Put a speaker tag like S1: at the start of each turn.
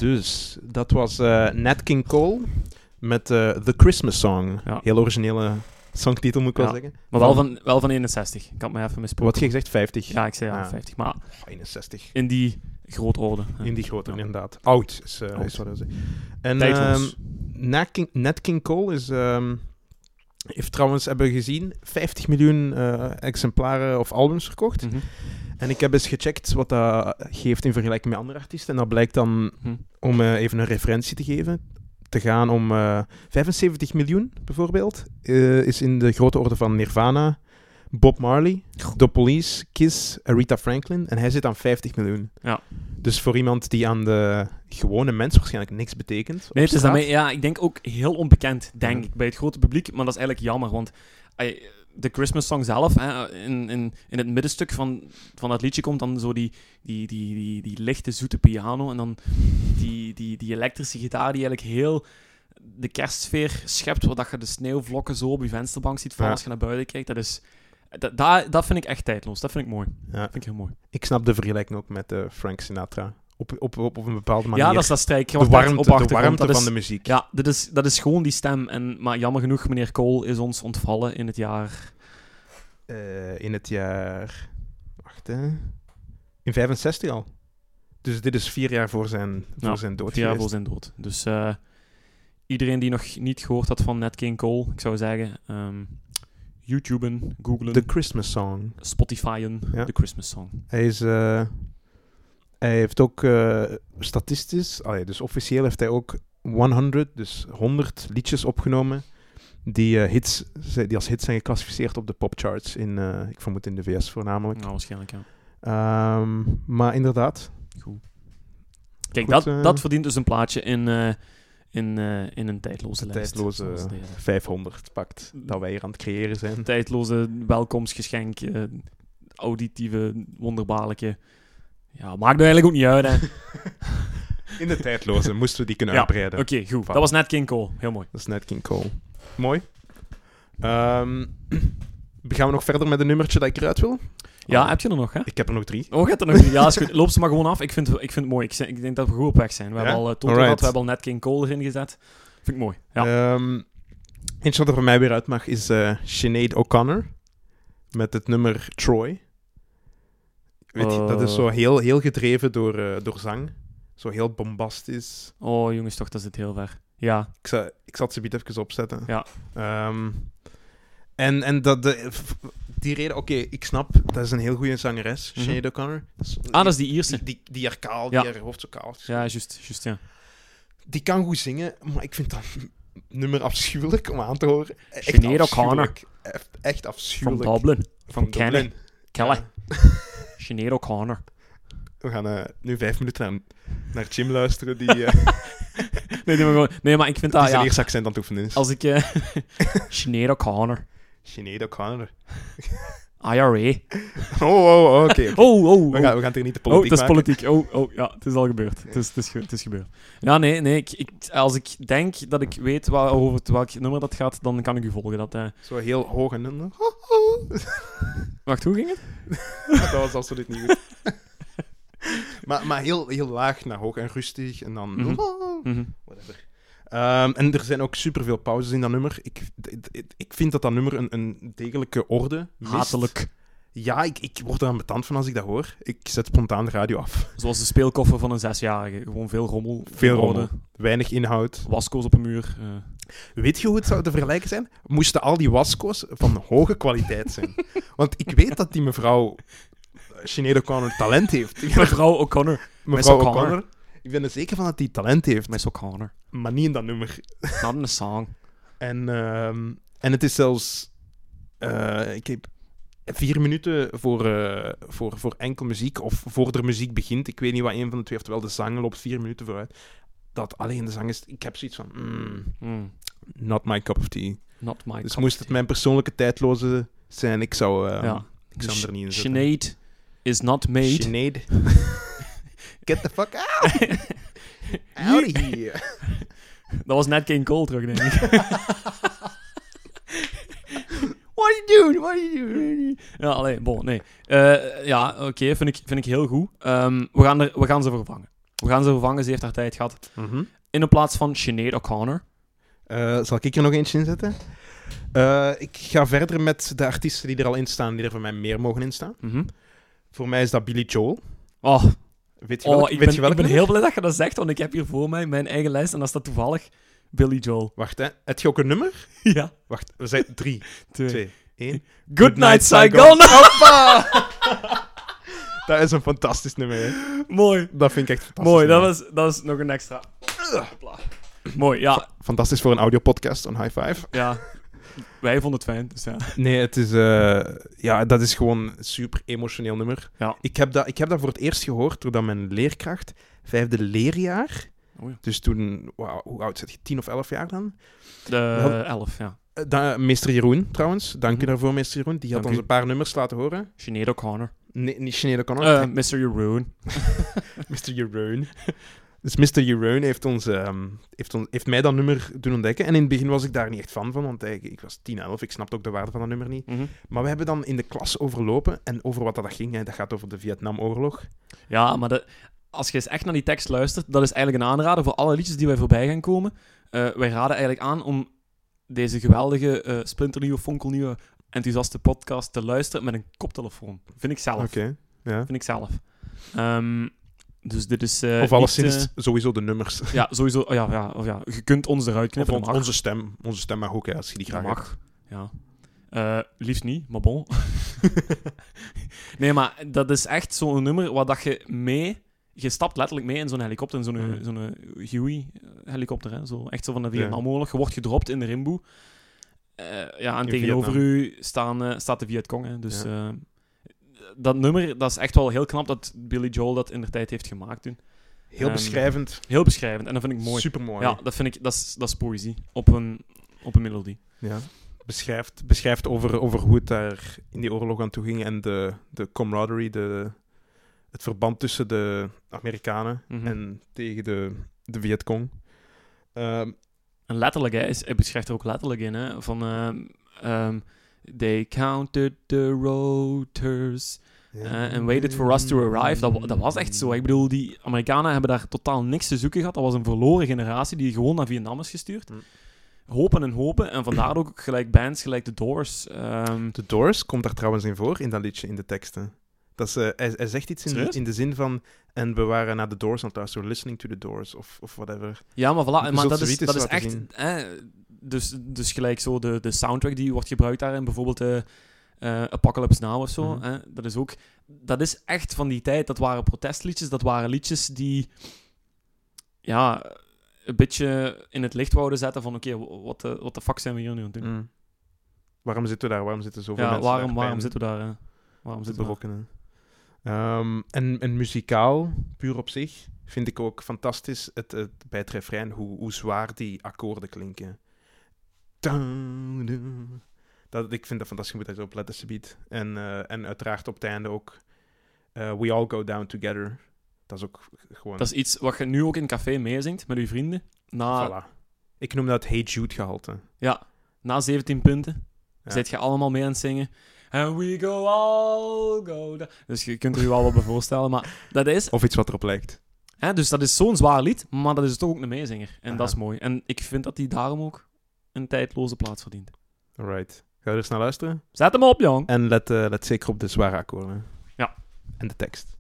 S1: Dus, dat was eh, Nat King Cole met eh, The Christmas Song.
S2: Ja.
S1: Heel originele songtitel, moet ik
S2: Ja.
S1: wel zeggen.
S2: Maar wel van, wel van 61. Ik had me even misproken.
S1: Wat had je gezegd? 50?
S2: Ja, ik zei ja,
S1: Ah.
S2: 50. Maar
S1: 61.
S2: in die grootorde. hè.
S1: In die grote,
S2: Ja.
S1: inderdaad. Oud is, eh,
S2: Oud.
S1: is wat hij zegt. En
S2: Tijdloos.
S1: ehm, Nat King, Nat King Cole is, ehm, heeft trouwens, hebben we gezien, 50 miljoen eh, exemplaren of albums verkocht.
S2: Mhm.
S1: En ik heb eens gecheckt wat dat geeft in vergelijking met andere artiesten. En dat blijkt dan,
S2: Hm.
S1: om eh, even een referentie te geven, te gaan om eh, 75 miljoen bijvoorbeeld. eh, is in de grote orde van Nirvana, Bob Marley, The Police, Kiss, Aretha Franklin. En hij zit aan 50 miljoen.
S2: Ja.
S1: Dus voor iemand die aan de gewone mens waarschijnlijk niks betekent. op
S2: Nee, het is
S1: straat-
S2: daarmee, ja, ik denk ook heel onbekend, denk
S1: Ja.
S2: ik, bij het grote publiek. Maar dat is eigenlijk jammer, want eh, de Christmas song zelf, hè, in, in, in het middenstuk van, van dat liedje komt dan zo die, die, die, die, die lichte, zoete piano. En dan die, die, die elektrische gitaar die eigenlijk heel de kerstsfeer schept, waar dat je de sneeuwvlokken zo op je vensterbank ziet vallen
S1: Ja.
S2: als je naar buiten kijkt. Dat, is, dat, dat, dat vind ik echt tijdloos. Dat vind ik mooi.
S1: Ja.
S2: Dat vind ik heel mooi.
S1: Ik snap de vergelijking ook met eh, Frank Sinatra. Op, op, op, op een bepaalde manier.
S2: ja, dat is dat strijk.
S1: de warmte, de warmte
S2: dat
S1: van
S2: is,
S1: de muziek.
S2: Ja, dat is, dat is gewoon die stem. En, maar jammer genoeg, meneer Kool is ons ontvallen in het jaar.
S1: Eh, in het jaar. Wacht hè. In 65 al. Dus dit is vier jaar voor zijn, voor
S2: Ja,
S1: zijn dood.
S2: Vier jaar voor
S1: geweest.
S2: zijn dood. Dus eh, iedereen die nog niet gehoord had van Nat King Cole, ik zou zeggen: ehm YouTuben, googlen,
S1: The Christmas Song.
S2: Spotifyen,
S1: Ja.
S2: de Christmas Song.
S1: Hij is. eh, hij heeft ook eh, statistisch, allee, dus officieel heeft hij ook 100, dus 100 liedjes opgenomen. Die, eh, hits, zijn- die als hits zijn geclassificeerd op de popcharts. In, eh, ik vermoed in de VS voornamelijk.
S2: Nou, waarschijnlijk, ja.
S1: Ehm, maar inderdaad,
S2: Goed. Kijk,
S1: Goed,
S2: dat,
S1: eh.
S2: dat verdient dus een plaatje in, eh, in, eh, in een tijdloze
S1: Een
S2: lijst.
S1: tijdloze- eh,
S2: zoals deze.
S1: 500 pakt dat wij hier aan het creëren zijn.
S2: tijdloze welkomstgeschenk. eh, auditieve, wonderbaarlijke. Ja, maakt nu eigenlijk ook niet uit, hè.
S1: In de tijdloze moesten we die kunnen
S2: Ja,
S1: uitbreiden.
S2: Oké, goed.
S1: Voilà.
S2: Dat was net King Cole. Heel mooi.
S1: Dat is Nat King Cole. Mooi. Ehm, gaan we nog verder met een nummertje dat ik eruit wil?
S2: Ja,
S1: Oh,
S2: heb je er nog, hè?
S1: ik heb er nog drie.
S2: Oh, gaat er nog niet? Ja, is goed. Loop ze maar gewoon af. Ik vind, ik vind het mooi. Ik, zeg- ik denk dat we goed op weg zijn. We
S1: Ja?
S2: hebben al uh,
S1: Alright.
S2: gehad, we hebben al net King Cole erin gezet. Vind ik mooi. Ja.
S1: Ehm, eentje dat er voor mij weer uit mag is eh Sinead O'Connor. Met het nummer Troy. Weet je, dat is
S2: Eh.
S1: zo heel, heel gedreven door, eh, door zang. Zo heel bombastisch.
S2: Oh, jongens, toch, dat zit heel ver. Ja,
S1: Ik, zal, ik zal het zo even opzetten.
S2: Ja.
S1: Ehm, en en dat de, f- die reden, oké, ik snap, dat is een heel goede zangeres,
S2: Mhm.
S1: Sinead O'Connor. Dat is-
S2: ah, dat is die Ierse.
S1: die, die, die haar kaal,
S2: Ja.
S1: die haar hoofd zo kaal is.
S2: Ja, juist, juist, ja.
S1: Die kan goed zingen, maar ik vind dat nummer afschuwelijk om aan te horen. Echt
S2: Sinead O'Connor.
S1: afschuwelijk. Echt, echt
S2: Van
S1: afschuwelijk.
S2: Dublin.
S1: Van
S2: Kenny.
S1: Dublin.
S2: Kelly. Sinead O'Connor.
S1: We gaan eh, nu vijf minuten naar, naar Jim luisteren, die, eh
S2: Nee, nee, maar gewoon... Nee, maar ik vind
S1: die
S2: dat,
S1: zijn
S2: ja...
S1: eerste accent aan het oefenen is.
S2: Als ik... eh Sinead O'Connor.
S1: Sinead O'Connor.
S2: IRA.
S1: Oh, oh, oh, oké. oké.
S2: Oh, oh, oh.
S1: We, gaan, we gaan het hier niet de
S2: Oh,
S1: politiek
S2: het is
S1: maken.
S2: politiek. Oh, oh, ja, het is al gebeurd. Het is, het is, ge- het is gebeurd. Ja, nee, nee. Ik, ik, als ik denk dat ik weet waar, over het- welk nummer dat gaat, dan kan ik u volgen. Dat, eh,
S1: Zo heel hoog en... dan- Oh,
S2: Wacht, hoe ging het?
S1: dat was absoluut niet goed. maar maar heel, heel laag naar hoog en rustig. En dan... Oh.
S2: Mhm.
S1: Whatever. Ehm, en er zijn ook superveel pauzes in dat nummer. Ik, d- d- ik vind dat dat nummer een, een degelijke orde mist.
S2: Hatelijk.
S1: Ja, ik, ik word er aan betand van als ik dat hoor. Ik zet spontaan de radio af.
S2: Zoals de speelkoffer van een zesjarige. Gewoon veel rommel.
S1: Veel
S2: orde,
S1: rommel. Weinig inhoud.
S2: Wasco's op een muur. eh.
S1: Weet je hoe het zou te vergelijken zijn? Moesten al die wasco's van hoge kwaliteit zijn? Want ik weet dat die mevrouw eh, Sinead O'Connor talent heeft. Ik-
S2: Mevrouw O'Connor.
S1: Mevrouw
S2: Miss O'Connor.
S1: O'Connor. Ik ben er zeker van dat die talent heeft,
S2: Miss O'Connor.
S1: maar niet in dat nummer.
S2: Not in a song.
S1: En, ehm, en het is zelfs. eh, ik heb vier minuten voor, eh, voor, voor enkel muziek of voor de muziek begint. Ik weet niet wat een van de twee, oftewel de zang loopt vier minuten vooruit. Dat alleen de zang is. Ik heb zoiets van. mm,
S2: Mm,
S1: not my cup of tea.
S2: Not my
S1: dus
S2: cup
S1: moest het
S2: of tea.
S1: mijn persoonlijke tijdloze zijn, ik zou, ehm,
S2: Ja.
S1: ik zou hem er niet in zetten.
S2: Sinead is not made.
S1: Sinead. Get the fuck out! out of here!
S2: Dat was net King Cole terug, denk ik. What are you doing? What are you doing? Ja, alleen, bon, nee. Eh, ja, oké, vind, ik, vind ik heel goed. Ehm, we, gaan er, we gaan ze vervangen. We gaan ze vervangen, ze heeft haar tijd gehad.
S1: Mhm.
S2: In de plaats van Sinead O'Connor.
S1: Eh, zal ik er nog eentje in zetten? Eh, ik ga verder met de artiesten die er al in staan, die er voor mij meer mogen in staan.
S2: Mhm.
S1: Voor mij is dat Billy Joel.
S2: Oh,
S1: Weet je wel?
S2: oh ik,
S1: weet
S2: ben,
S1: je welk
S2: ik ben
S1: nummer?
S2: heel blij dat je dat zegt, want ik heb hier voor mij mijn eigen lijst en daar staat toevallig Billy Joel.
S1: Wacht, hè. Heb je ook een nummer?
S2: ja,
S1: Wacht, we zijn drie,
S2: twee.
S1: twee, één.
S2: Good night,
S1: night,
S2: Saigon!
S1: Dat is een fantastisch nummer, hè.
S2: Oh, Mooi.
S1: Dat vind ik echt fantastisch.
S2: Mooi, dat
S1: nummer.
S2: was, dat was nog een extra. Hopla. Mooi, ja,
S1: Fantastisch voor een audiopodcast, een high five.
S2: ja. Wij vonden het fijn, dus ja.
S1: Nee, het is... eh, ja, dat is gewoon een super emotioneel nummer.
S2: Ja.
S1: Ik, heb dat, ik heb dat voor het eerst gehoord doordat mijn leerkracht, vijfde leerjaar...
S2: Oei.
S1: Dus toen, wauw, hoe oud zit je? Tien of elf jaar dan?
S2: De elf, ja.
S1: Eh, da- meester Jeroen, trouwens. Dank u daarvoor, meester Jeroen. Die had
S2: Mhm. Dank
S1: ons
S2: u.
S1: een paar nummers laten horen.
S2: Sinead O'Connor.
S1: Nee, niet Sinead O'Connor.
S2: Eh Mr. Jeroen.
S1: Mr. Jeroen. Dus Mr. Jeroen heeft, ons, ehm, heeft, ons, heeft mij dat nummer doen ontdekken. En in het begin was ik daar niet echt fan van, want ik, ik was 10, 11. Ik snapte ook de waarde van dat nummer niet.
S2: Mhm.
S1: Maar we hebben dan in de klas overlopen en over wat dat ging. Hè, dat gaat over de Vietnamoorlog.
S2: Ja, maar de, als je eens echt naar die tekst luistert, dat is eigenlijk een aanrader voor alle liedjes die wij voorbij gaan komen. Eh, wij raden eigenlijk aan om deze geweldige, eh, splinternieuwe, fonkelnieuwe, enthousiaste podcast te luisteren met een koptelefoon. Vind ik zelf.
S1: Ja.
S2: Vind ik zelf. Ehm, dus dit is... eh,
S1: Of alleszins
S2: niet,
S1: sowieso de nummers.
S2: eh, ja, sowieso. oh ja, ja, of ja, je kunt ons eruit
S1: Of
S2: knippen.
S1: on-
S2: dat mag.
S1: onze stem. Onze stem mag ook, hè, als je die
S2: Ja,
S1: graag hebt.
S2: mag. Ja. Eh, liefst niet, maar bon. nee, maar dat is echt zo'n nummer waar dat je mee... Je stapt letterlijk mee in zo'n helikopter, in zo'n
S1: Mhm.
S2: zo'n, eh, Huey-helikopter. hè. Zo, echt zo van de
S1: Ja.
S2: Vietnamoorlog. Je wordt gedropt in de Rimboe. Eh, ja, en
S1: In
S2: tegenover
S1: Vietnam.
S2: u staan, eh, staat de Vietcong. Hè. Dus eh, dat nummer, dat is echt wel heel knap dat Billy Joel dat in de tijd heeft gemaakt toen.
S1: Heel
S2: Ehm,
S1: beschrijvend.
S2: Heel beschrijvend. En dat vind ik mooi.
S1: Supermooi.
S2: Ja, dat vind ik... Dat is, dat is poëzie. Op een, op een melodie.
S1: Ja. Beschrijft, beschrijft over, over hoe het daar in die oorlog aan toe ging en de, de camaraderie, de, het verband tussen de Amerikanen
S2: Mhm.
S1: en tegen de, de Vietcong. Ehm,
S2: En letterlijk, hè, is, hij beschrijft er ook letterlijk in, hè, van... ehm, ehm, They counted the rotors eh, and waited for us to arrive. Dat, wa- dat was echt zo. Ik bedoel, die Amerikanen hebben daar totaal niks te zoeken gehad. Dat was een verloren generatie die gewoon naar Vietnam is gestuurd.
S1: Mm.
S2: Hopen en hopen. En vandaar ook gelijk bands, gelijk de Doors. ehm,
S1: The Doors komt daar trouwens in voor, in dat liedje, in de teksten. Dat is, eh, hij, hij zegt iets in de,
S2: Serieus?
S1: in de zin van... En we waren naar The Doors aan het luisteren, listening to The Doors, of, of whatever.
S2: Ja, maar voilà.
S1: Je
S2: Maar
S1: zult
S2: dat is,
S1: zoiets
S2: dat is
S1: laten
S2: echt...
S1: zien.
S2: Hè, dus, dus gelijk zo de, de soundtrack die wordt gebruikt daarin. Bijvoorbeeld eh, eh, Apocalypse Now of zo.
S1: Mhm.
S2: hè, dat is ook... Dat is echt van die tijd. Dat waren protestliedjes. Dat waren liedjes die... Ja, een beetje in het licht wouden zetten van... Oké, wa- wat de wat de fuck zijn we hier nu aan het doen?
S1: Mm. Waarom zitten we daar? Waarom zitten zoveel
S2: ja,
S1: mensen daar
S2: waarom, waarom
S1: pijn
S2: zitten we daar? hè? Waarom
S1: te
S2: zitten we daar?
S1: berokkenen. Ehm, en, en muzikaal, puur op zich, vind ik ook fantastisch het, het, bij het refrein hoe, hoe zwaar die akkoorden klinken. Dun, dun. Dat, ik vind dat fantastisch, je moet daar zo op letten, alsjeblieft. En, eh, en uiteraard op het einde ook eh, We All Go Down Together. Dat is ook gewoon...
S2: Dat is iets wat je nu ook in een café meezingt met je vrienden. Na,
S1: voilà. Ik noem dat het Hey Jude gehalte.
S2: Ja, na 17 punten
S1: Ja.
S2: zit je allemaal mee aan het zingen. And we go all go down. Dus je kunt er je al wat bij voorstellen. Maar dat is,
S1: Of iets wat erop lijkt.
S2: hè, dus dat is zo'n zwaar lied, maar dat is toch ook een meezinger. En dat is
S1: Aha.
S2: mooi. En ik vind dat hij daarom ook een tijdloze plaats verdient.
S1: Alright. Ga je er eens naar luisteren?
S2: Zet hem op, jong.
S1: En let, eh, let zeker op de zware akkoorden.
S2: Ja.
S1: En de tekst.